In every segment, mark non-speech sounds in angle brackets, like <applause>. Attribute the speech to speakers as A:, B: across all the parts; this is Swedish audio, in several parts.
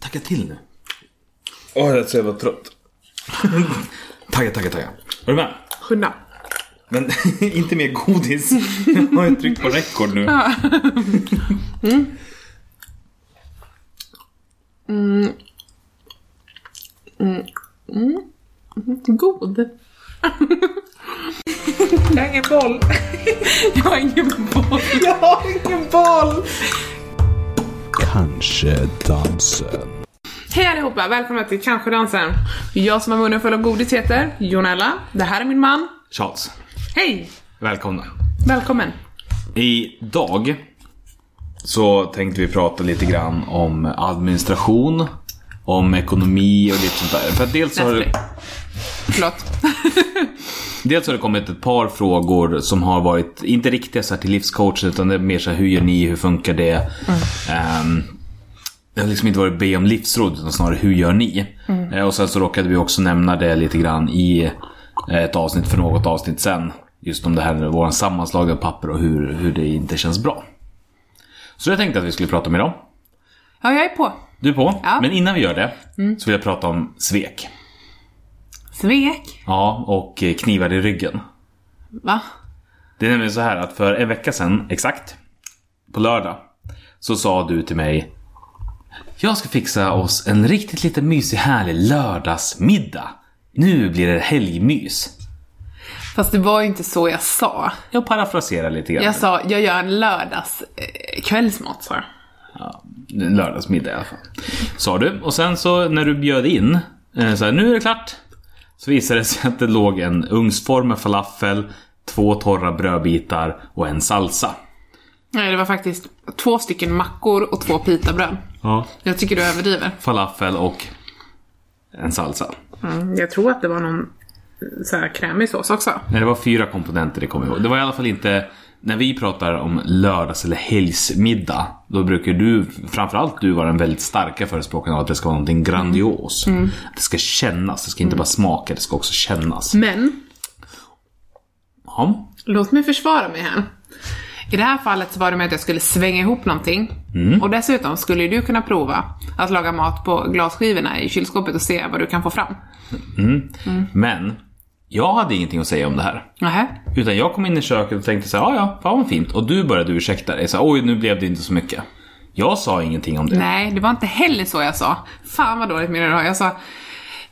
A: Tagga till nu.
B: Åh, jag är så jävla trött.
A: Tagga, tagga, tagga. Är du med?
C: Sjunna.
B: Men <laughs> inte mer godis. Jag har ju tryckt på rekord nu.
C: God. <laughs> Jag har ingen boll. <laughs> Jag har ingen boll. Jag har ingen boll.
D: Kanske dansen.
C: Hej allihopa, välkomna till Kanske dansen. Jag som har munnen full av godis heter Jonella. Det här är min man.
A: Charles,
C: Hej!
B: Välkomna.
C: Välkommen.
B: Idag så tänkte vi prata lite grann om administration, om ekonomi och lite sånt där. För att dels, så har det,
C: Förlåt.
B: dels har det kommit ett par frågor som har varit, inte riktiga så här till livscoachen, utan det är mer så här, hur gör ni, hur funkar det? Ehm, det har liksom inte varit be om livsråd, utan snarare hur gör ni? Eh, Och sen så råkade vi också nämna det lite grann i eh, ett avsnitt för något avsnitt sen. Just om det här med vår sammanslagna papper och hur, hur det inte känns bra. Så jag tänkte att vi skulle prata om idag.
C: Ja, jag är på.
B: Du är på?
C: Ja.
B: Men innan vi gör det så vill jag prata om svek.
C: Svek.
B: Ja, och eh, knivar i ryggen.
C: Va?
B: Det är nämligen så här att för en vecka sedan, exakt, på lördag, så sa du till mig Jag ska fixa oss en riktigt lite mysig härlig lördagsmiddag. Nu blir det helgmys.
C: Fast det var ju inte så jag sa.
B: Jag parafraserar lite grann.
C: Jag sa, jag gör en lördags eh, kvällsmat sa jag.
B: Lördagsmiddag i alla fall. Sa du. Och sen så när du bjöd in, eh, så här, nu är det klart. Så visade det sig att det låg en ugnsform med falafel, två torra brödbitar och en salsa.
C: Nej, det var faktiskt två stycken mackor och två pitabröd.
B: Ja.
C: Jag tycker du överdriver.
B: Falafel och en salsa.
C: Jag tror att det var någon så här krämig sås också.
B: Nej, det var fyra komponenter det kommer jag ihåg. Det var i alla fall inte... När vi pratar om lördags eller helgsmiddag, då brukar du, framförallt du, vara den väldigt starka förespråkaren av att det ska vara någonting grandios. Att det ska kännas, det ska inte bara smaka, det ska också kännas.
C: Men,
B: Ja.
C: låt mig försvara mig här. I det här fallet så var det med att jag skulle svänga ihop någonting.
B: Mm.
C: Och dessutom skulle ju du kunna prova att laga mat på glasskivorna i kylskåpet och se vad du kan få fram.
B: Men, jag hade ingenting att säga om det här.
C: Nähä?
B: Utan jag kom in i köket och tänkte så här, ja ja, fan vad fint. Och du började ursäkta dig, så här, oj nu blev det inte så mycket. Jag sa ingenting om det.
C: Nej, det var inte heller så jag sa. Fan vad dåligt minne du har. Jag sa,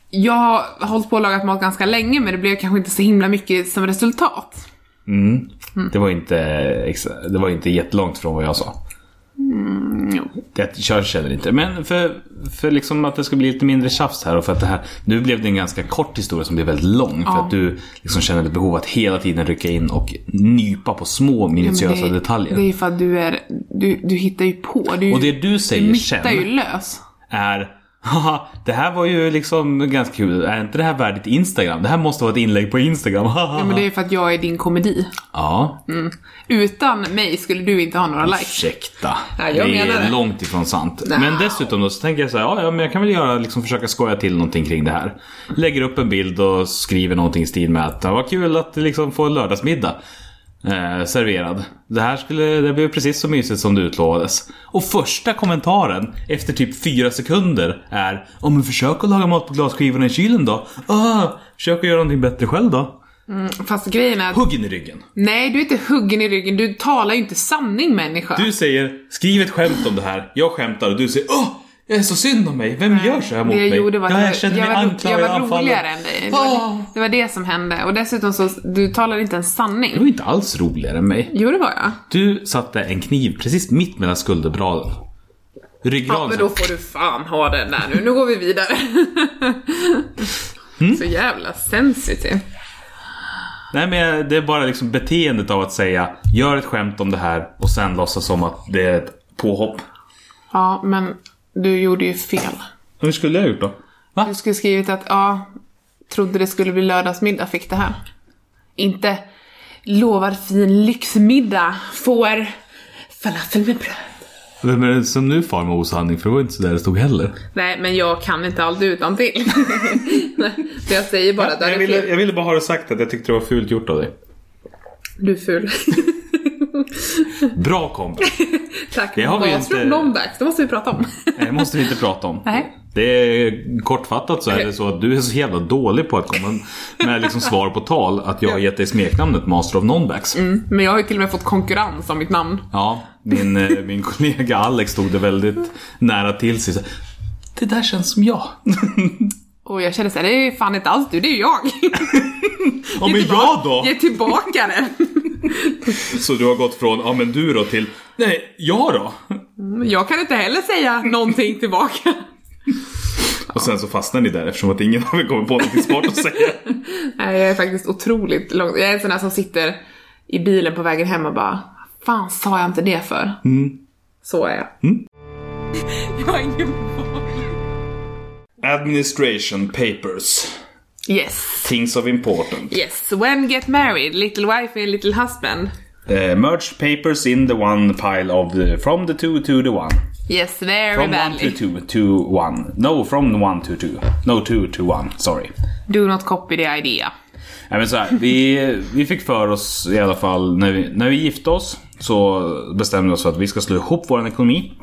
C: jag har hållit på och lagat mat ganska länge men det blev kanske inte så himla mycket som resultat.
B: Det var inte, exa- det var inte jättelångt från vad jag sa.
C: Mm,
B: Det, jag känner inte. Men för, för liksom att det ska bli lite mindre tjafs här och för att det här... Nu blev det en ganska kort historia som blev väldigt lång. För
C: Ja.
B: att du liksom känner ett behov att hela tiden rycka in och nypa på små minutiösa
C: Men det-
B: detaljer.
C: Det är ju för att du är, du, du hittar ju på. Du, är ju-
B: och det du säger sen
C: mittar ju lös.
B: är Haha, det här var ju liksom ganska kul. Är inte det här värdigt Instagram? Det här måste vara ett inlägg på Instagram. <laughs>
C: Ja, men det är ju för att jag är din komedi.
B: ja.
C: Utan mig skulle du inte ha några likes.
B: Ursäkta.
C: Nej, jag
B: det är
C: menar det.
B: långt ifrån sant.
C: Nej.
B: Men dessutom då så tänker jag så här, ja, ja men jag kan väl göra, liksom, försöka skoja till någonting kring det här. Lägger upp en bild och skriver någonting i stil med att ja, vad kul att liksom, få en lördagsmiddag eh, serverad. Det här skulle, det blev precis så mysigt som det utlovades. Och första kommentaren efter typ fyra sekunder är om men försök att laga mat på glasskivorna i kylen då. Ah, försök att göra någonting bättre själv då.
C: Fast grejen är att,
B: Huggen i ryggen.
C: nej du är inte huggen i ryggen, du talar ju inte sanning människa.
B: Du säger skriv ett skämt om det här, jag skämtar och du säger åh, jag är så synd om mig, vem gör så här mot
C: det jag
B: mig?
C: gjorde var att
B: ja,
C: jag,
B: jag känner
C: jag,
B: mig
C: var, ro-
B: anklagad
C: jag
B: och
C: var
B: anfallen.
C: roligare än dig. Det
B: Ah.
C: var, det var det som hände. Och dessutom så, du talade inte ens
B: Du
C: sanning.
B: var inte alls roligare än mig.
C: Jo det var jag.
B: Du satte en kniv precis mitt mellan skulderbladen.
C: Ja, men
B: Ryggraden.
C: då får du fan ha den där nu. Nu går vi vidare.
B: Mm.
C: <laughs> Så jävla sensitiv.
B: Nej men jag- det är bara liksom beteendet av att säga gör ett skämt om det här och sen låtsas som att det är ett påhopp.
C: Ja, men du gjorde ju fel.
B: Hur skulle jag ha gjort då? Va?
C: Du skulle skrivit att, ja, trodde det skulle bli lördagsmiddag, fick det här. Inte lovar fin lyxmiddag, får falafel med bröd.
B: Vem är det som nu far med osanning? För det var inte så där det stod heller.
C: Nej, men jag kan inte allt
B: <laughs>
C: utan till. Så jag säger bara att det
B: jag,
C: är
B: ville,
C: fel.
B: jag ville bara ha det sagt att jag tyckte det var fult
C: <laughs>
B: gjort av dig.
C: Du är ful.
B: Bra kompis.
C: Exakt.
B: Det har vi ju
C: Vad tror
B: inte-
C: de om Dax? Det måste vi prata om.
B: Det Eh, måste vi inte prata om.
C: Nej.
B: Det är kortfattat så är det så att du är så jävla dålig på att komma med liksom svar på tal att jag har gett dig smeknamnet Master of Nonbacks.
C: Men jag har ju till och med fått konkurrens om mitt namn.
B: Ja, min, eh, min kollega Alex tog det väldigt nära till sig. Så, Det där känns som jag.
C: Och jag kände såhär, det är fan inte alls du, det är ju jag.
B: Ja men jag då?
C: Ge tillbaka det.
B: Så du har gått från ja men du då till nej, jag då?
C: Jag kan inte heller säga någonting tillbaka.
B: Och sen så fastnar ni där eftersom att ingen har kommit på någonting smart att säga.
C: <laughs> Nej, jag är faktiskt otroligt långt. Jag är en sån där som sitter i bilen på vägen hem och bara, fan sa jag inte det för? Så är jag. <laughs>
B: Administration papers.
C: Yes.
B: Things of important.
C: Yes. When get married, little wife and little husband.
B: Eh, merge papers in the one pile of the, from the two to the one.
C: Yes, very
B: From one
C: badly.
B: to two to one. No, from one to two. No, two to one. Sorry.
C: Do not copy the idea.
B: Nej, men så här, vi, vi fick för oss i alla fall när vi, när vi gifte oss så bestämde vi oss för att vi ska slå ihop vår ekonomi.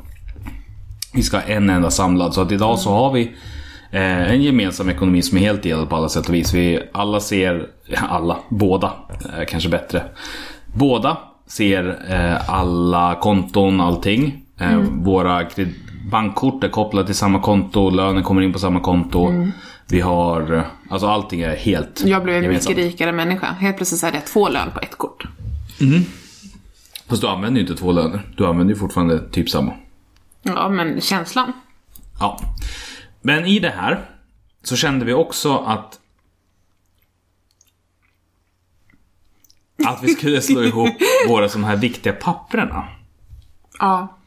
B: Vi ska ha en enda samlad så att idag så har vi eh, en gemensam ekonomi som är helt delad på alla sätt och vis. Vi alla ser, <laughs> alla, båda eh, kanske bättre. Båda ser eh, alla konton, allting. Eh,
C: Mm.
B: Våra kred- bankkort är kopplade till samma konto, lönen kommer in på samma konto. Vi har, alltså allting är helt
C: Mm. Jag blev en mycket
B: gemensamt.
C: rikare människa. Helt plötsligt så hade jag två lön på ett kort.
B: Fast du använder ju inte två löner. Du använder ju fortfarande typ samma.
C: Ja, men känslan.
B: Ja. Men i det här så kände vi också att att vi skulle slå ihop våra sådana här viktiga papperna.
C: Ja.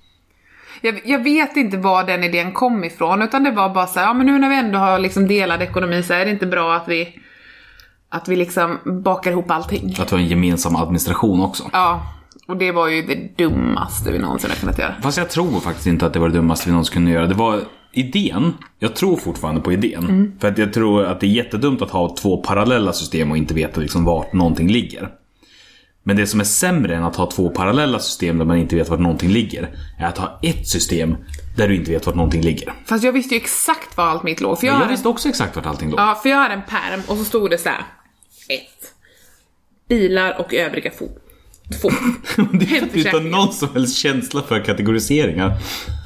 C: Jag, jag vet inte var den idén kom ifrån utan det var bara så här, ja men nu när vi ändå har liksom delad ekonomi så är det inte bra att vi att vi liksom bakar ihop allting.
B: Att vi har en gemensam administration också.
C: Ja, och det var ju det dummaste vi någonsin har kunnat göra.
B: Fast jag tror faktiskt inte att det var det dummaste vi någonsin kunde göra. Det var idén. Jag tror fortfarande på idén.
C: Mm.
B: För att jag tror att det är jättedumt att ha två parallella system och inte veta liksom vart någonting ligger. Men det som är sämre än att ha två parallella system där man inte vet vart någonting ligger, är att ha ett system där du inte vet vart någonting ligger.
C: Fast jag visste ju exakt var allt mitt låg. För jag,
B: Jag
C: har en,
B: visste också exakt vart allting låg.
C: ja, för jag har en pärm och så stod det så här. 1. Bilar och övriga fordon.
B: <laughs>
C: 2.
B: <laughs> Det är inte utan
C: Hemförsäkringen.
B: någon som helst känsla för kategoriseringar.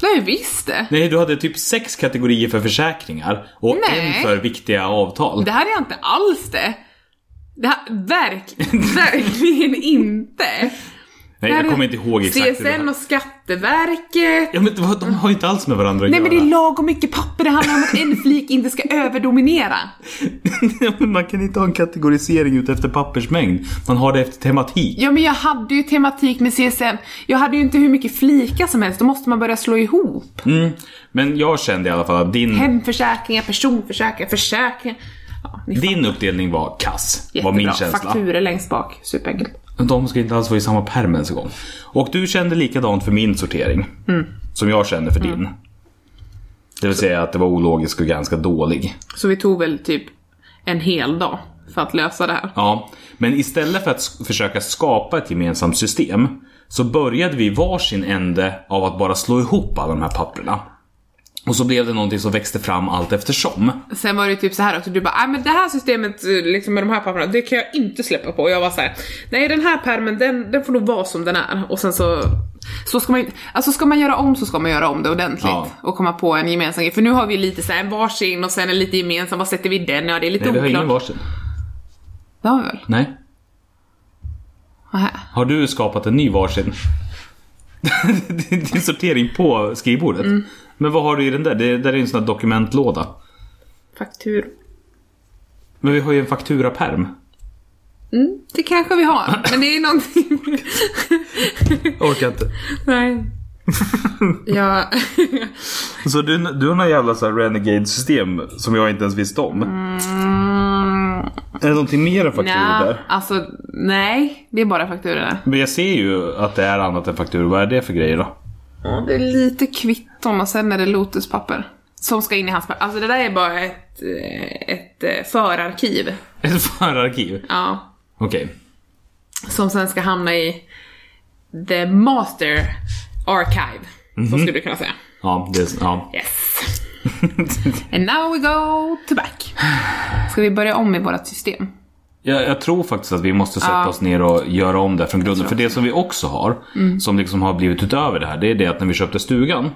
C: Nej, visst det.
B: Nej, du hade typ sex kategorier för försäkringar och
C: Nej.
B: en för viktiga avtal.
C: Det här är inte alls det. Det här, verk,
B: <laughs>
C: verkligen inte.
B: Nej, jag kommer inte ihåg exakt hur det här-
C: CSN och Skatteverket.
B: Ja men vad- de har ju inte alls med varandra att
C: Nej men det
B: göra.
C: är lagom mycket papper, det handlar om att en flik inte ska överdominera.
B: <laughs> Ja, men Man kan inte ha en kategorisering ut efter pappersmängd. Man har det efter tematik.
C: Ja men jag hade ju tematik med CSN, jag hade ju inte hur mycket flikar som helst, då måste man börja slå ihop.
B: Men jag kände i alla fall att din,
C: Hemförsäkringar, personförsäkringar, försäkringar. Ja, ni fattar.
B: din uppdelning var kass.
C: Jättebra.
B: Var min känsla.
C: Fakturer längst bak, superenkelt.
B: De ska inte alls vara i samma pärm ens en gång. Och du kände likadant för min sortering.
C: Mm.
B: Som jag kände för din. Det vill säga att det var ologisk och ganska dålig.
C: Så vi tog väl typ en hel dag för att lösa det här.
B: Ja, men istället för att sk- försöka skapa ett gemensamt system så började vi varsin ände av att bara slå ihop alla de här papperna. Och så blev det någonting som växte fram allt eftersom.
C: Sen var det ju typ så här också, du bara nej men det här systemet eh, liksom med de här papperna, det kan jag inte släppa på. Och jag var så här, nej den här pärmen den, den får nog vara som den är. Och sen så, så ska man ju- alltså ska man göra om så ska man göra om det ordentligt.
B: Ja.
C: Och komma på en gemensam grej. För nu har vi lite så här en varsin och sen en lite gemensam, vad sätter vi i den? Ja det är lite
B: Nej, vi har ingen
C: oklart.
B: varsin.
C: Det har vi väl?
B: Nej.
C: Nähä.
B: Har du skapat en ny varsin? <laughs> Din din sortering på skrivbordet. Men vad har du i den där? Det där är ju en sån här dokumentlåda.
C: Faktur.
B: Men vi har ju en fakturapärm.
C: Mm, Det kanske
B: <clears throat>
C: vi har, men det är någonting...
B: Jag orkar inte.
C: <laughs> nej.
B: <laughs>
C: Ja.
B: Så du, du har någon jävla så här renegade-system som jag inte ens visste om.
C: Mm,
B: Är det någonting mer än fakturor
C: nej,
B: där?
C: alltså nej, det är bara fakturorna.
B: Men jag ser ju att det är annat än fakturor. Vad är det för grejer då?
C: Ja, det är lite kvitton och sen är det lotuspapper. Som ska in i hans papper. Alltså det där är bara ett, eh, ett eh, förarkiv.
B: <laughs> Ett förarkiv?
C: Ja.
B: Okej.
C: Som sen ska hamna i the master archive.
B: Mhm.
C: Så skulle du kunna säga.
B: Ja, det, <laughs> ja.
C: Yes. And now we go to back. Ska vi börja om i vårt system?
B: Jag, jag tror faktiskt att vi måste sätta oss ner och göra om det från grunden. För det som vi också har, som liksom har blivit utöver det här, det är det att när vi köpte stugan,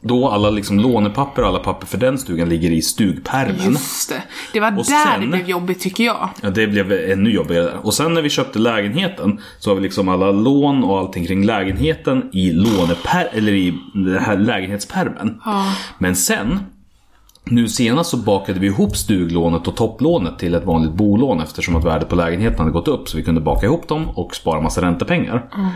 B: då alla liksom lånepapper och alla papper för den stugan ligger i stugpärmen.
C: Just det. Det var där
B: Mm. Och sen-
C: det blev jobbigt tycker jag.
B: Ja, det blev ännu jobbigare där. Och sen när vi köpte lägenheten så har vi liksom alla lån och allting kring lägenheten i, låneper- eller i den här lägenhetspärmen. Men sen, nu senast så bakade vi ihop stuglånet och topplånet till ett vanligt bolån eftersom att värdet på lägenheten hade gått upp så vi kunde baka ihop dem och spara massa räntepengar.
C: Mm.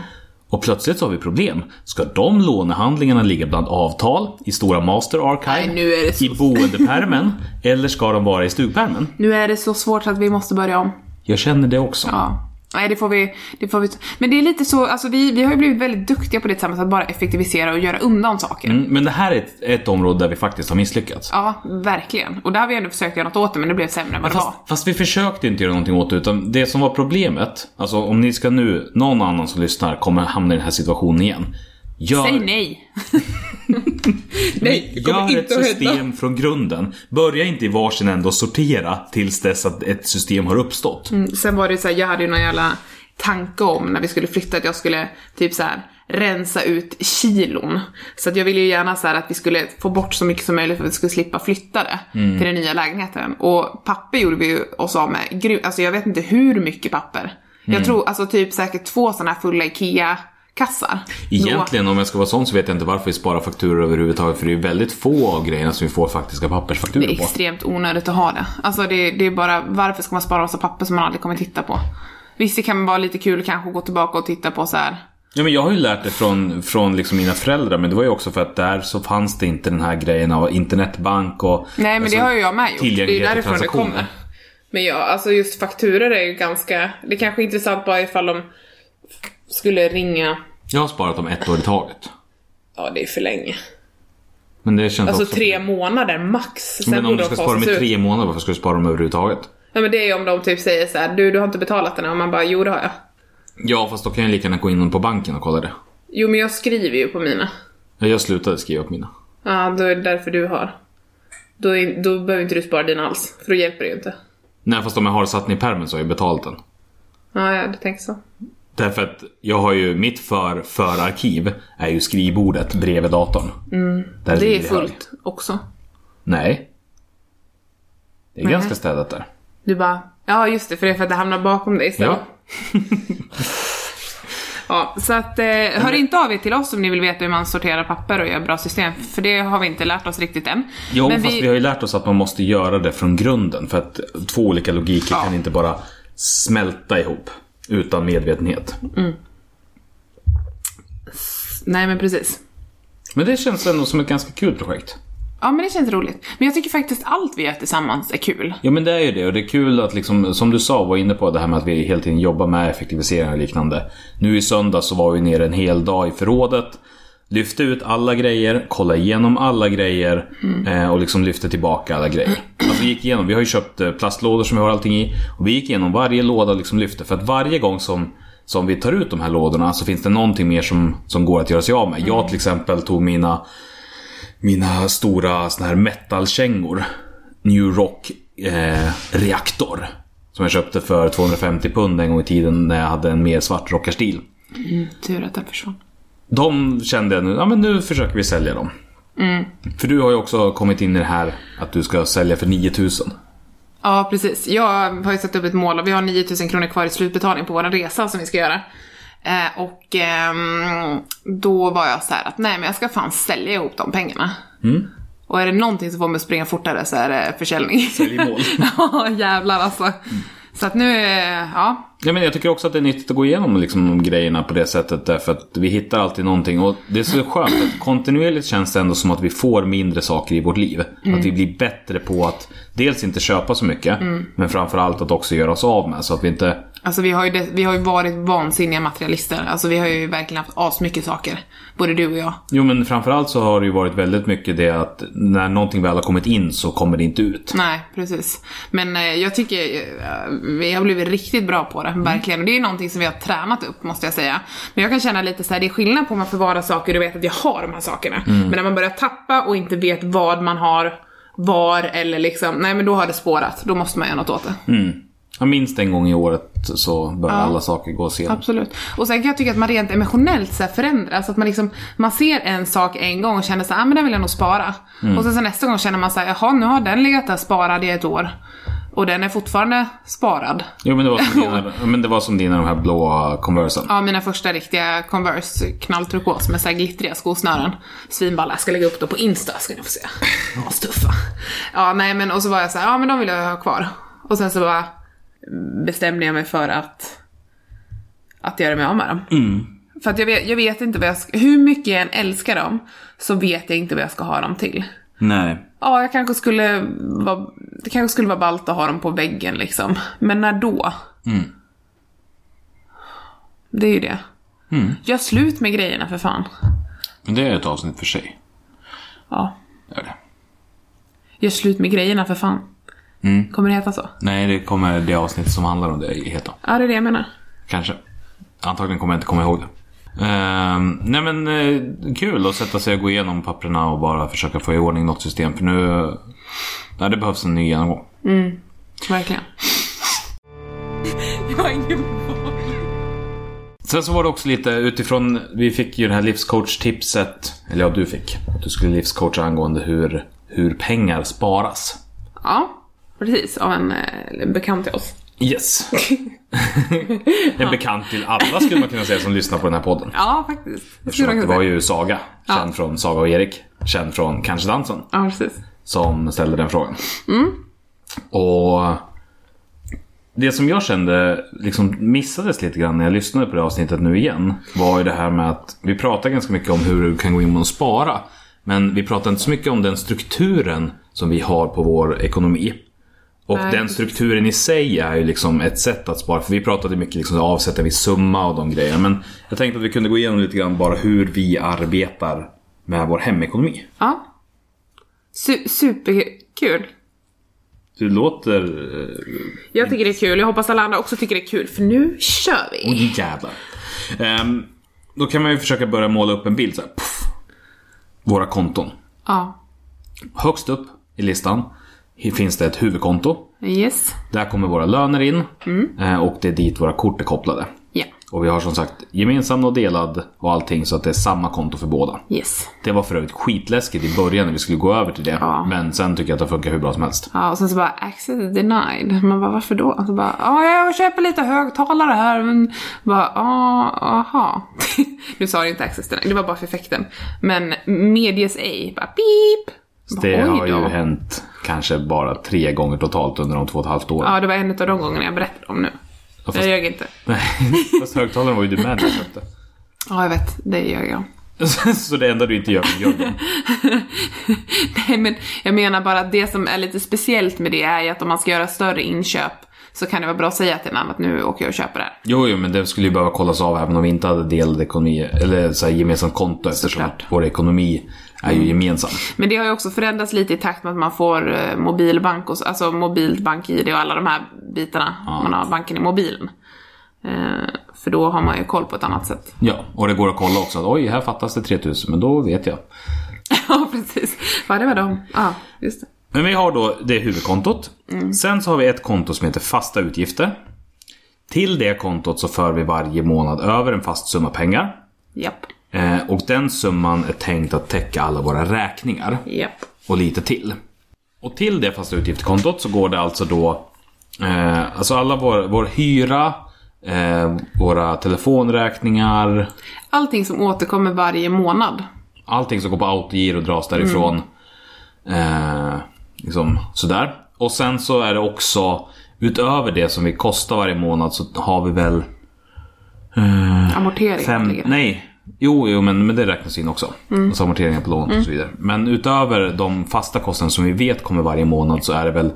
B: Och plötsligt så har vi problem. Ska de lånehandlingarna ligga bland avtal i stora master archive?
C: Nej, nu är det så-
B: I
C: <laughs>
B: boendepärmen? eller ska de vara i stugpärmen?
C: Nu är det så svårt att vi måste börja om.
B: Jag känner det också.
C: Ja. Nej, det får vi... Det får vi men det är lite så, alltså vi, vi har ju blivit väldigt duktiga på det tillsammans, att bara effektivisera och göra undan saker.
B: Mm, Men det här är ett, ett område där vi faktiskt har misslyckats.
C: Ja, verkligen. Och där har vi ändå försökt göra något åt det, men det blev sämre än vad det var.
B: Fast, fast vi försökte inte göra någonting åt det, utan det som var problemet, alltså om ni ska nu, någon annan som lyssnar kommer hamna i den här situationen igen. Gör, <laughs>
C: Säg nej! nej, det kommer
B: gör ett
C: inte att hända.
B: system från grunden. Börja inte i varsin ände och sortera tills dess att ett system har uppstått.
C: Sen var det ju så här, jag hade ju någon jävla tanke om när vi skulle flytta att jag skulle typ så här rensa ut kilon. Så att jag ville ju gärna så här att vi skulle få bort så mycket som möjligt för att vi skulle slippa flytta det till den nya lägenheten. Och papper gjorde vi ju oss av med, gru- alltså jag vet inte hur mycket papper. Jag tror alltså typ säkert två sådana här fulla IKEA-kassar.
B: Egentligen om jag ska vara sån så vet jag inte varför vi sparar fakturor överhuvudtaget för det är ju väldigt få av grejerna som vi får faktiska
C: Det är
B: pappersfakturor på.
C: extremt onödigt att ha det. Alltså det, det är bara, varför ska man spara massa papper som man aldrig kommer titta på? Visst det kan vara lite kul kanske att gå tillbaka och titta på så här
B: Ja, men jag har ju lärt det från, från liksom mina föräldrar, men det var ju också för att där så fanns det inte den här grejen av internetbank och...
C: Nej men
B: alltså,
C: det har ju jag med gjort. Det är
B: tillgänglighet och
C: därifrån det
B: transaktioner.
C: kommer. Men ja, alltså just fakturer är ju ganska... Det kanske är intressant bara ifall de skulle ringa...
B: Jag har sparat dem ett år i taget.
C: Ja, det är för länge.
B: Men det känns
C: Alltså
B: också...
C: tre månader max. Sen
B: men om
C: borde
B: du
C: de
B: ska
C: fasas
B: spara dem i
C: ut.
B: tre månader, varför ska du spara dem överhuvudtaget?
C: Ja, men det är ju om de typ säger så här, du du har inte betalat den här", och man bara jo det har jag.
B: Ja, fast då kan jag lika gärna gå in på banken och kolla det.
C: Jo men jag skriver ju på mina.
B: Ja, Jag slutade skriva upp mina.
C: Ja, då är det därför du har. Då, är, då behöver inte du spara din alls, för då hjälper det ju inte.
B: Nej, fast om jag har satt den i pärmen så har jag betalat den.
C: Ja, ja, du tänker så.
B: Därför att jag har ju, mitt för, för arkiv är ju skrivbordet bredvid datorn. Där
C: Mm. Det är
B: ligger i hög.
C: fullt också.
B: Nej. Det är
C: Nej.
B: ganska städat där.
C: Du bara, ja just det, för det är för att det hamnar bakom dig istället.
B: Ja.
C: Ja, så att eh, hör inte av er till oss om ni vill veta hur man sorterar papper och gör bra system, för det har vi inte lärt oss riktigt än.
B: Jo,
C: Men
B: fast vi... har ju lärt oss att man måste göra det från grunden. För att två olika logiker
C: Ja.
B: kan inte bara smälta ihop utan medvetenhet.
C: Nej men precis.
B: Men det känns ändå som ett ganska kul projekt.
C: Ja men det känns roligt. Men jag tycker faktiskt allt vi gör tillsammans är kul.
B: Ja men det är ju det och det är kul att liksom, som du sa, var inne på det här med att vi hela tiden jobbar med effektivisering och liknande. Nu i söndag så var vi nere en hel dag i förrådet. Lyfte ut alla grejer, kollade igenom alla grejer eh, och liksom lyfte tillbaka alla grejer. Alltså vi gick igenom, vi har ju köpt eh, plastlådor som vi har allting i. Och vi gick igenom varje låda och liksom lyfte. För att varje gång som, som vi tar ut de här lådorna så finns det någonting mer som, som går att göra sig av med. Jag till exempel tog mina mina stora såna här metalkängor. New Rock eh, Reaktor. Som jag köpte för 250 pund en gång i tiden när jag hade en mer svart rockarstil.
C: Tur att den försvann.
B: De kände jag nu, ja men nu försöker vi sälja dem. För du har ju också kommit in i det här att du ska sälja för 9000.
C: Ja precis. Jag har ju satt upp ett mål och vi har 9000 kronor kvar i slutbetalning på våran resa som vi ska göra. Eh, och ehm, då var jag så här att nej men jag ska fan sälja ihop de pengarna.
B: Mm.
C: Och är det någonting som får mig att springa fortare så är det försäljning.
B: i mål.
C: <laughs> ja jävlar alltså. Så att nu, eh, ja.
B: Ja, men jag tycker också att det är nyttigt att gå igenom liksom, grejerna på det sättet därför att vi hittar alltid någonting och det är så skönt att kontinuerligt känns det ändå som att vi får mindre saker i vårt liv. Att vi blir bättre på att dels inte köpa så mycket men framförallt att också göra oss av med så att vi inte
C: Alltså vi har, ju det, vi har ju varit vansinniga materialister. Alltså vi har ju verkligen haft asmycket saker. Både du och jag.
B: Jo men framförallt så har det ju varit väldigt mycket det att när någonting väl har kommit in så kommer det inte ut.
C: Nej, precis. Men eh, jag tycker eh, vi har blivit riktigt bra på det, verkligen. Och det är ju någonting som vi har tränat upp, måste jag säga. Men jag kan känna lite så här, det är skillnad på om man förvarar saker och vet att jag har de här sakerna. Men när man börjar tappa och inte vet vad man har, var eller liksom, nej men då har det spårat. Då måste man göra något åt det.
B: Ja, Minst en gång i året så börjar alla saker gå sen.
C: Absolut. Och sen kan jag tycka att man rent emotionellt så här förändras. Att man, liksom, man ser en sak en gång och känner så här, ah, men den vill jag nog spara. Och sen så nästa gång känner man så här, jaha nu har den legat där sparad i ett år. Och den är fortfarande sparad.
B: Jo men det var som dina, men det var som dina de här blåa Conversen.
C: Ja, mina första riktiga Converse knallturkos med så här glittriga skosnören. Svinballa, jag ska lägga upp dem på Insta ska ni få se. Astuffa. Ja, nej men och så var jag så här, ja men de vill jag ha kvar. Och sen så bara bestämde jag mig för att, att göra mig av med dem. För att jag vet, jag vet inte vad jag ska, hur mycket jag än älskar dem så vet jag inte vad jag ska ha dem till.
B: Nej.
C: Ja, jag kanske skulle vara, det kanske skulle vara ballt att ha dem på väggen liksom. Men när då?
B: Mm.
C: Det är ju det.
B: Mm.
C: Gör slut med grejerna för fan.
B: Men det är ett avsnitt för sig.
C: Ja.
B: Gör det.
C: Gör slut med grejerna för fan.
B: Mm.
C: Kommer det heta så?
B: Nej, det kommer det avsnitt som handlar om det heta.
C: Ja, det är det jag menar.
B: Kanske. Antagligen kommer jag inte komma ihåg det. Ehm, nej men eh, kul att sätta sig och gå igenom papperna och bara försöka få i ordning något system för nu... Nej, det behövs en ny genomgång.
C: Verkligen. Jag har ingen val.
B: Sen så var det också lite utifrån, vi fick ju det här livscoach-tipset, eller ja du fick, att du skulle livscoacha angående hur, hur pengar sparas.
C: Ja, precis. Av en eh, bekant till oss.
B: Yes. en bekant till alla skulle man kunna säga som lyssnar på den här podden.
C: Ja, faktiskt. Det
B: Eftersom
C: skulle
B: att
C: man
B: det
C: kunna
B: var
C: säga.
B: ju Saga, känd från Saga och Erik, känd från Kanske Dansen,
C: Ja, precis.
B: som ställde den frågan.
C: Mm.
B: Och det som jag kände liksom missades lite grann när jag lyssnade på det här avsnittet nu igen var ju det här med att vi pratar ganska mycket om hur du kan gå in och spara. Men vi pratar inte så mycket om den strukturen som vi har på vår ekonomi. Och
C: Nej,
B: den
C: precis.
B: strukturen i sig är ju liksom ett sätt att spara. För vi pratade mycket liksom avsätta vi summa och de grejerna. Men jag tänkte att vi kunde gå igenom lite grann bara hur vi arbetar med vår hemekonomi.
C: Ja. Su- superkul.
B: Du låter...
C: Jag tycker det är kul. Jag hoppas alla andra också tycker det är kul. För nu kör vi.
B: Oh, jävlar. Ehm, då kan man ju försöka börja måla upp en bild så här. Puff. Våra konton.
C: Ja.
B: Högst upp i listan finns det ett huvudkonto.
C: Yes.
B: Där kommer våra löner in
C: Mm.
B: eh, och det är dit våra kort är kopplade.
C: Ja.
B: Och vi har som sagt gemensam och delad och allting så att det är samma konto för båda.
C: Yes.
B: Det var för övrigt skitläskigt i början när vi skulle gå över till det.
C: Ja.
B: Men sen tycker jag att det funkar hur bra som helst.
C: Ja, och sen så bara access denied. Man bara varför då? Och så bara ja, jag köper lite högtalare här men bara ja, aha. <laughs> nu sa du inte access denied, det var bara för effekten. Men medies ej, bara pip. Bara,
B: Det
C: oj
B: har ju
C: då.
B: hänt kanske bara tre gånger totalt under de två och ett halvt åren.
C: Ja, det var en av de gångerna jag berättade om nu.
B: Ja,
C: Jag
B: fast,
C: ljög inte.
B: <laughs> fast högtalaren var ju du med när du köpte.
C: Ja, jag vet. Det ljög jag om.
B: <laughs> Så det enda du inte gör är joggen.
C: Nej, <laughs> men jag menar bara att det som är lite speciellt med det är ju att om man ska göra större inköp så kan det vara bra att säga till en annan att nu åker jag och köper det här.
B: Jo, jo, men det skulle ju behöva kollas av även om vi inte hade delad ekonomi, eller så här gemensamt konto eftersom
C: Såklart.
B: vår ekonomi är ju gemensam.
C: Men det har ju också förändrats lite i takt med att man får eh, mobilbank, och, så- alltså mobilt bank-id och alla de här bitarna. Man har banken i mobilen. Eh, för då har man ju koll på ett annat sätt. <laughs>
B: Ja, och det går att kolla också att oj, här fattas det 3000, men då vet jag.
C: ja, precis. Ja, det var de. Ja, just det.
B: Men vi har då det huvudkontot. Sen så har vi ett konto som heter fasta utgifter. Till det kontot så för vi varje månad över en fast summa pengar.
C: Japp,
B: Eh, och den summan är tänkt att täcka alla våra räkningar.
C: japp.
B: och lite till. Och till det fasta utgiftskontot så går det alltså då eh, Alltså alla vår, vår hyra eh, Våra telefonräkningar
C: Allting som återkommer varje månad.
B: Allting som går på autogiro dras därifrån eh, Liksom sådär Och sen så är det också Utöver det som vi kostar varje månad så har vi väl
C: Amortering.
B: Fem, nej. Jo, jo men, men det räknas in också.
C: Mm.
B: Alltså amorteringar på lån och så vidare. Men utöver de fasta kostnaderna som vi vet kommer varje månad så är det väl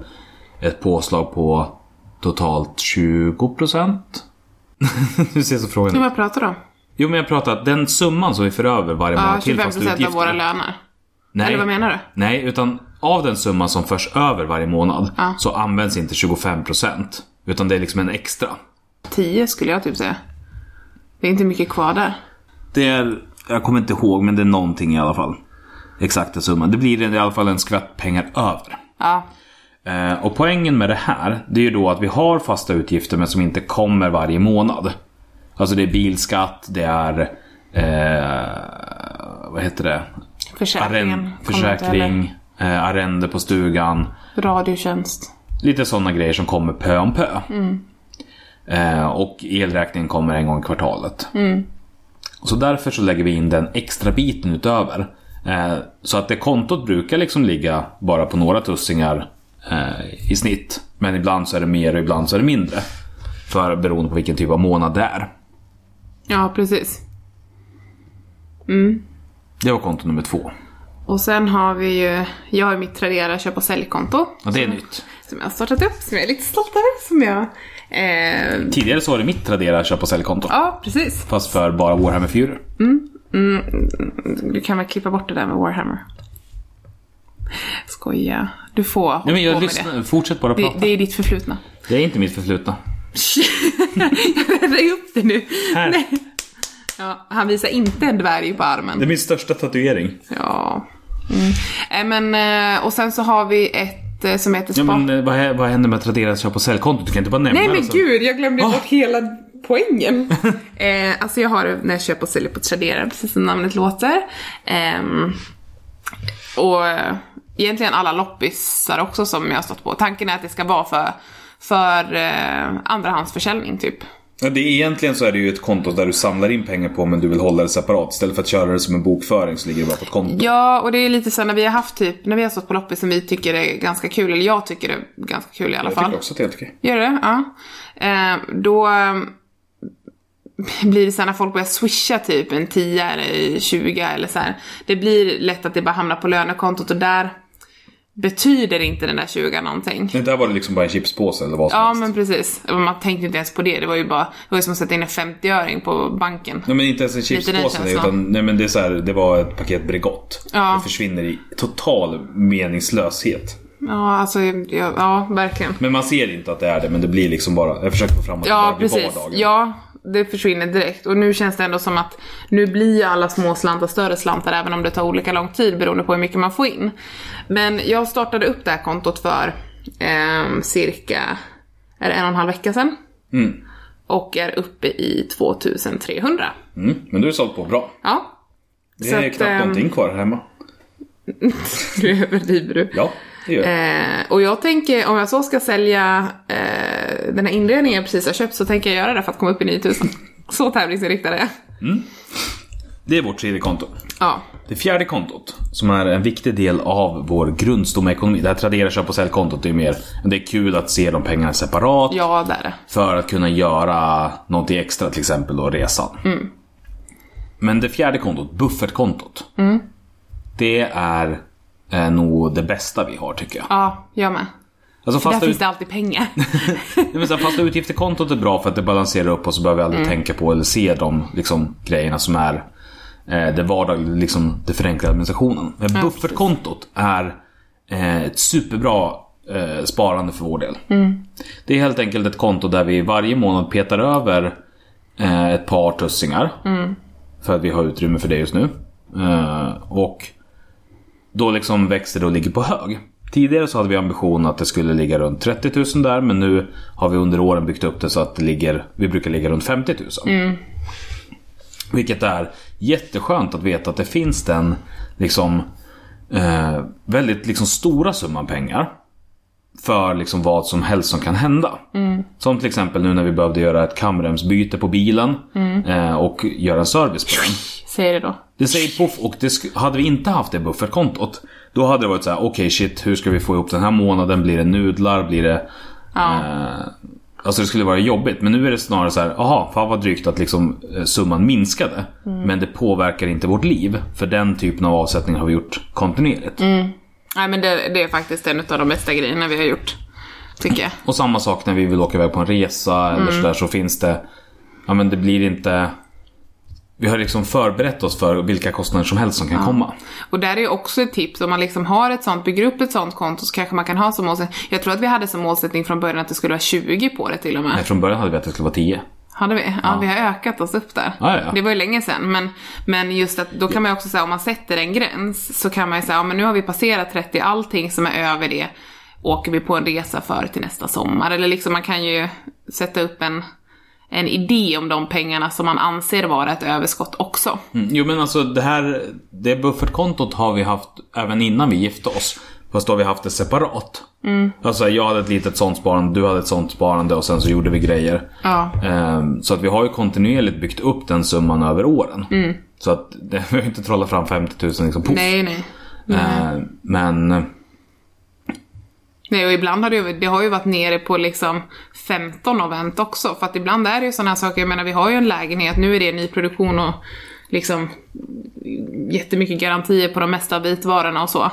B: ett påslag på totalt 20%. <laughs> du ser så frågan
C: Men
B: ut.
C: vad pratar du om?
B: Jo men jag pratar att den summan som vi för över varje
C: Ja,
B: månad till
C: 25
B: fasta utgifter.
C: av våra löner.
B: Nej.
C: Eller vad menar du?
B: Nej, utan av den summan som förs över varje månad
C: Ja.
B: så används inte 25% utan det är liksom en extra.
C: 10 skulle jag typ säga. Det är inte mycket kvar där.
B: Det är, jag kommer inte ihåg men det är någonting i alla fall. Exakta summan. Det blir i alla fall en skvätt pengar över.
C: Ja,
B: Eh, och poängen med det här, det är ju då att vi har fasta utgifter men som inte kommer varje månad. Alltså det är bilskatt, det är... Eh, vad heter det?
C: försäkringen.
B: Arren-
C: kommer inte heller.
B: försäkring, eh, arrende på stugan.
C: Radiotjänst.
B: Lite sådana grejer som kommer pö om pö.
C: Mm.
B: Eh, och elräkningen kommer en gång i kvartalet.
C: Mm.
B: Så därför så lägger vi in den extra biten utöver. Eh, så att det kontot brukar liksom ligga bara på några tussingar eh, i snitt. Men ibland så är det mer och ibland så är det mindre. För beroende på vilken typ av månad det är.
C: Ja, precis.
B: Det var konto nummer två.
C: Och sen har vi ju, jag har ju mitt Tradera köp och säljkonto.
B: Och det är nytt.
C: Som jag har startat upp, som jag är lite stolt över. Som jag... Eh,
B: Tidigare så var det mitt Tradera köp och säljkonto.
C: ja, precis.
B: Fast för bara Warhammer 4.
C: Du kan väl klippa bort det där med Warhammer. Skoja. Du får hålla
B: Nej, men
C: på
B: jag
C: med
B: lyssnar, fortsätt bara
C: det. Det,
B: prata.
C: det är
B: <laughs>
C: ditt förflutna.
B: det är inte mitt förflutna.
C: Rädd upp det nu.
B: Här.
C: Ja, han visar inte en dvärg på armen.
B: är min största tatuering.
C: Ja. Mm. Eh, Men, eh, och sen så har vi ett eh, som heter
B: Ja,
C: Spa.
B: men eh, vad, hä- vad händer med Traderas köp och säljkonto? Du kan inte bara nämna
C: Nej men
B: det sen.
C: gud, jag glömde
B: Ah.
C: bort hela
B: <laughs>
C: poängen. eh, alltså jag har det när jag köper och säljer på Tradera, precis som namnet låter. Ehm, och eh, egentligen alla loppisar också som jag har stått på. Tanken är att det ska vara för, för eh, andrahandsförsäljning typ.
B: Ja, det är egentligen så är det ju ett konto där du samlar in pengar på men du vill hålla det separat. Istället för att köra det som en bokföring så ligger det bara på ett konto.
C: Ja, och det är lite så när vi har haft typ, när vi har stått på loppis som vi tycker är ganska kul, eller jag tycker det är ganska kul i alla fall.
B: också att det är helt okej.
C: Gör det? Ja. Eh, då eh, <laughs> blir det så här när folk börjar swisha typ en 10 eller 20 eller så här. Det blir lätt att det bara hamnar på lönekontot och där betyder inte den där 20 någonting.
B: Nej, där var det liksom bara en chipspåse eller vad som
C: Ja
B: helst.
C: men precis, man tänkte inte ens på det. Det var ju bara, det var ju som att sätta in en 50-öring på banken.
B: Nej men inte ens en
C: Lite den
B: chipspåse
C: känslan.
B: utan nej, men det, är så här, det var ett paket Bregott.
C: Ja.
B: Det försvinner i total meningslöshet.
C: Ja alltså, ja, ja verkligen.
B: Men man ser inte att det är det men det blir liksom bara, jag försöker få fram att det
C: Ja
B: bara blir
C: precis,
B: vardagen.
C: ja det försvinner direkt. Och nu känns det ändå som att nu blir ju alla små slantar större slantar även om det tar olika lång tid beroende på hur mycket man får in. Men jag startade upp det här kontot för ehm, cirka är det en och en halv vecka sedan. Och är uppe i 2300.
B: Mm, men du är sålt på bra.
C: Ja,
B: Det
C: Så
B: är
C: att,
B: knappt
C: ehm,
B: någonting kvar här hemma.
C: nu överdriver <laughs> du.
B: Ja, det gör jag.
C: Eh, och jag tänker, om jag så ska sälja eh, den här inredningen jag precis har köpt så tänker jag göra det för att komma upp i 9000. <laughs> Så tävlingsinriktad är jag.
B: Det är vårt tredje konto.
C: Ja,
B: Det fjärde kontot, som är en viktig del av vår grundstomme ekonomi. Det här Tradera köp och säljkontot, det är mer, det är kul att se de pengarna separat.
C: ja det är det.
B: För att kunna göra någonting extra, till exempel då resan.
C: Mm.
B: Men det fjärde kontot, buffertkontot.
C: Mm.
B: Det är eh, nog det bästa vi har tycker jag.
C: Ja, jag med.
B: Alltså
C: Där
B: fasta,
C: finns
B: ut,
C: det alltid <laughs> pengar.
B: Nej, men så här, fasta utgifter-kontot är bra för att det balanserar upp och så behöver vi aldrig tänka på eller se de liksom, grejerna som är eh, det vardagliga, liksom, det förenklade administrationen. Men buffertkontot är eh, ett superbra eh, sparande för vår del. Det är helt enkelt ett konto där vi varje månad petar över eh, ett par tussingar. För att vi har utrymme för det just nu. Eh, och då liksom växer det och ligger på hög. Tidigare så hade vi ambitionen att det skulle ligga runt 30 000 där men nu har vi under åren byggt upp det så att det ligger, vi brukar ligga runt 50 000. Vilket är jätteskönt att veta att det finns den liksom eh, väldigt liksom stora summan pengar för liksom vad som helst som kan hända. Som till exempel nu när vi behövde göra ett kamremsbyte på bilen eh, och göra en service på den.
C: Säger det då.
B: Det säger poff och det sk- hade vi inte haft det buffertkontot Då hade det varit så här: okej shit hur ska vi få ihop den här månaden? Blir det nudlar? Blir det... Eh, alltså det skulle vara jobbigt men nu är det snarare så här: aha fan vad drygt att liksom eh, summan minskade. Men det påverkar inte vårt liv för den typen av avsättning har vi gjort kontinuerligt.
C: Nej men det, det är faktiskt en av de bästa grejerna vi har gjort. tycker jag.
B: Och samma sak när vi vill åka iväg på en resa eller sådär så finns det... Ja men det blir inte... Vi har liksom förberett oss för vilka kostnader som helst som kan komma.
C: Och där är ju också ett tips, om man liksom har ett sånt, bygger upp ett sånt konto så kanske man kan ha som målsättning. Jag tror att vi hade som målsättning från början att det skulle vara 20 på det till och med.
B: Nej, från början hade vi att det skulle vara 10.
C: Hade vi? Ja, vi har ökat oss upp där.
B: Ja, ja.
C: Det var ju länge sedan, men, men just att då kan man ju också säga om man sätter en gräns så kan man ju säga, ja men nu har vi passerat 30, allting som är över det åker vi på en resa för till nästa sommar. Eller liksom man kan ju sätta upp en, en idé om de pengarna som man anser vara ett överskott också.
B: Mm, Jo men alltså det här det buffertkontot har vi haft även innan vi gifte oss. Fast då har vi haft det separat.
C: Mm.
B: Alltså jag hade ett litet sånt sparande, du hade ett sånt sparande och sen så gjorde vi grejer.
C: Ja.
B: Ehm, Så att vi har ju kontinuerligt byggt upp den summan över åren. Så att <laughs> det- vi har ju inte trollat fram 50 000 liksom poff.
C: Mm. Nej, nej.
B: Ehm, Men
C: Nej, och ibland har det, ju, det har ju varit nere på liksom 15 och vänt också. För att ibland är det ju sådana här saker, jag menar vi har ju en lägenhet, nu är det nyproduktion och liksom jättemycket garantier på de mesta vitvarorna och så.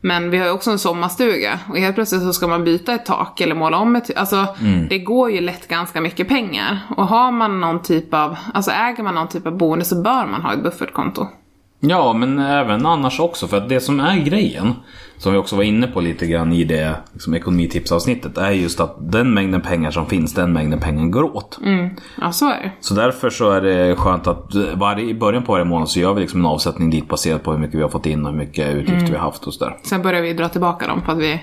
C: Men vi har ju också en sommarstuga och helt plötsligt så ska man byta ett tak eller måla om ett Alltså det går ju lätt ganska mycket pengar. Och har man någon typ av, alltså äger man någon typ av boende så bör man ha ett buffertkonto.
B: Ja, men även annars också. För att det som är grejen, som vi också var inne på lite grann i det liksom, ekonomitipsavsnittet, är just att den mängden pengar som finns, den mängden pengar går åt.
C: Ja, så är det.
B: Så därför så är det skönt att varje, i början på varje månad så gör vi liksom en avsättning dit baserat på hur mycket vi har fått in och hur mycket utgifter vi har haft och sådär.
C: Sen börjar vi dra tillbaka dem för att vi...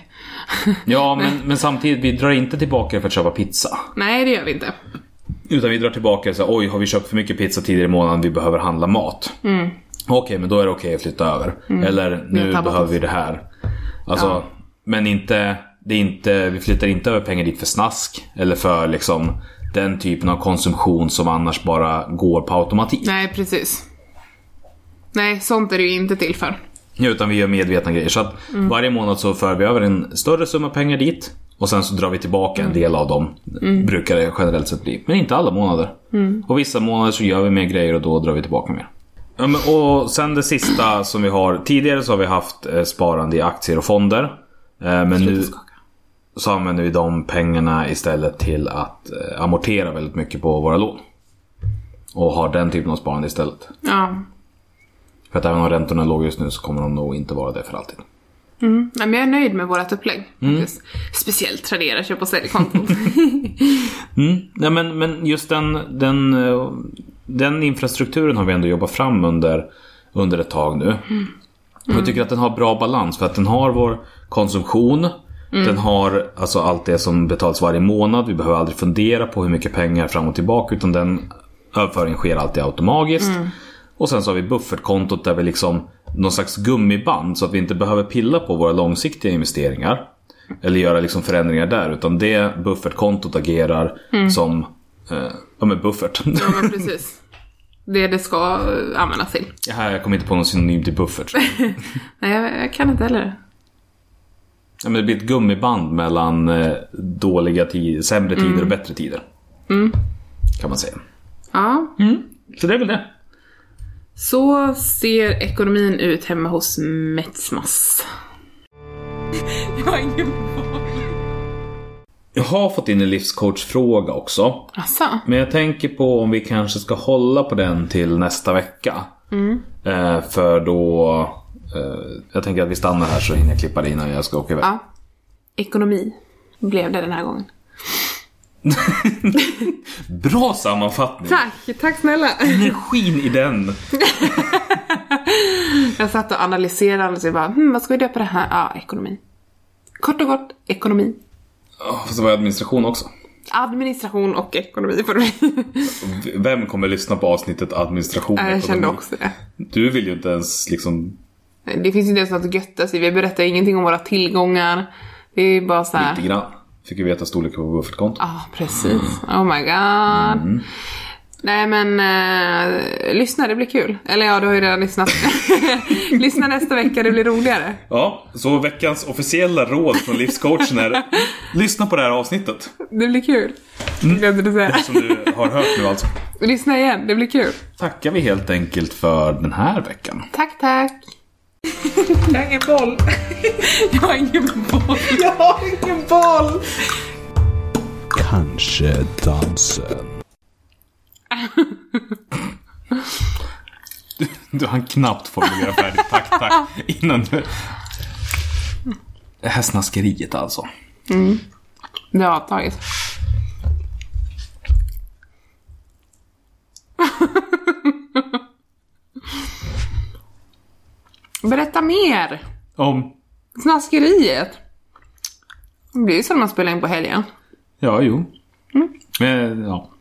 C: <laughs>
B: Ja, men, men samtidigt, vi drar inte tillbaka för att köpa pizza.
C: Nej, det gör vi inte.
B: Utan vi drar tillbaka så här, oj har vi köpt för mycket pizza tidigare i månaden, vi behöver handla mat. Okej, men då är det okej att flytta över. Eller
C: har
B: nu
C: tappat
B: behöver
C: oss.
B: vi det här. Alltså, men inte, det är inte, vi flyttar inte över pengar dit för snask. Eller för liksom den typen av konsumtion som annars bara går på automatik.
C: Nej, precis. Nej, sånt är det ju inte till för.
B: Utan vi gör medvetna grejer. Så att varje månad så för vi över en större summa pengar dit. Och sen så drar vi tillbaka en del av dem. Brukar det generellt sett bli. Men inte alla månader. Och vissa månader så gör vi mer grejer och då drar vi tillbaka mer. Ja, men, och sen det sista som vi har. Tidigare så har vi haft eh, sparande i aktier och fonder. Eh, men nu så använder vi de pengarna istället till att eh, amortera väldigt mycket på våra lån. Och har den typen av sparande istället.
C: Ja.
B: För att även om räntorna är låga just nu så kommer de nog inte vara det för alltid.
C: Mm. Nej, men jag är nöjd med vårt upplägg. faktiskt. Speciellt Tradera köp och säljkontot.
B: Nej, men, men just den, den, eh, den infrastrukturen har vi ändå jobbat fram under, under ett tag nu. Och jag tycker att den har bra balans för att den har vår konsumtion. Den har alltså allt det som betalas varje månad. Vi behöver aldrig fundera på hur mycket pengar fram och tillbaka utan den överföringen sker alltid automatiskt. Och sen så har vi buffertkontot där vi liksom någon slags gummiband så att vi inte behöver pilla på våra långsiktiga investeringar. Eller göra liksom förändringar där utan det buffertkontot agerar som eh, ja, men buffert. <laughs>
C: ja, men precis. Det det ska eh, användas till.
B: Här, jag kommer inte på någon synonym till buffert.
C: Nej, jag, jag kan inte heller.
B: Ja, men det blir ett gummiband mellan eh, dåliga tider, sämre tider
C: Mm.
B: och bättre tider. Kan man säga.
C: Ja.
B: Så det är väl det.
C: Så ser ekonomin ut hemma hos Metsmas. Jag har ingen
B: Jag har fått in en livscoachfråga också.
C: Alltså,
B: Men jag tänker på om vi kanske ska hålla på den till nästa vecka.
C: Mm.
B: Eh, för då... Eh, jag tänker att vi stannar här så hinner jag klippa det innan jag ska åka iväg.
C: ja. Ekonomi blev det den här gången.
B: Bra sammanfattning!
C: Tack, tack snälla.
B: Energin i den!
C: Jag satt och analyserade och så bara, hm, vad ska vi döpa det här? Ja, ekonomi. Kort och gott, ekonomi.
B: Oh, fast det var administration också.
C: Administration och ekonomi får det bli.
B: V- Vem kommer lyssna på avsnittet administration?
C: Ja, Jag kände
B: ekonomi?
C: också det.
B: Du vill ju inte ens liksom
C: Det finns ju inte ens något gött att säga. Vi berättar ingenting om våra tillgångar. Det är bara så här.
B: Lite grann. Fick ju veta storleken på buffertkonto.
C: Ja, precis. Oh my god.
B: Mm.
C: Nej men, eh, lyssna det blir kul. Eller ja, du har ju redan lyssnat. <laughs> lyssna nästa vecka, det blir roligare.
B: Ja, så veckans officiella råd från livscoachen är lyssna på det här avsnittet.
C: Det blir kul. Glömde du säga.
B: Mm. Som du har hört nu alltså.
C: Lyssna igen, det blir kul.
B: Tackar vi helt enkelt för den här veckan.
C: Tack, tack. Jag har ingen boll. <laughs> Jag har ingen boll. Jag har ingen boll.
D: Kanske dansen.
B: Du hann knappt formulera färdigt tack, tack innan du... Det här snaskeriet alltså.
C: Det har jag tagit. <laughs> Berätta mer.
B: Om...
C: Snaskeriet. Det blir ju som man spelar in på helgen.
B: Mm. Eh, Ja, jo. Men, ja.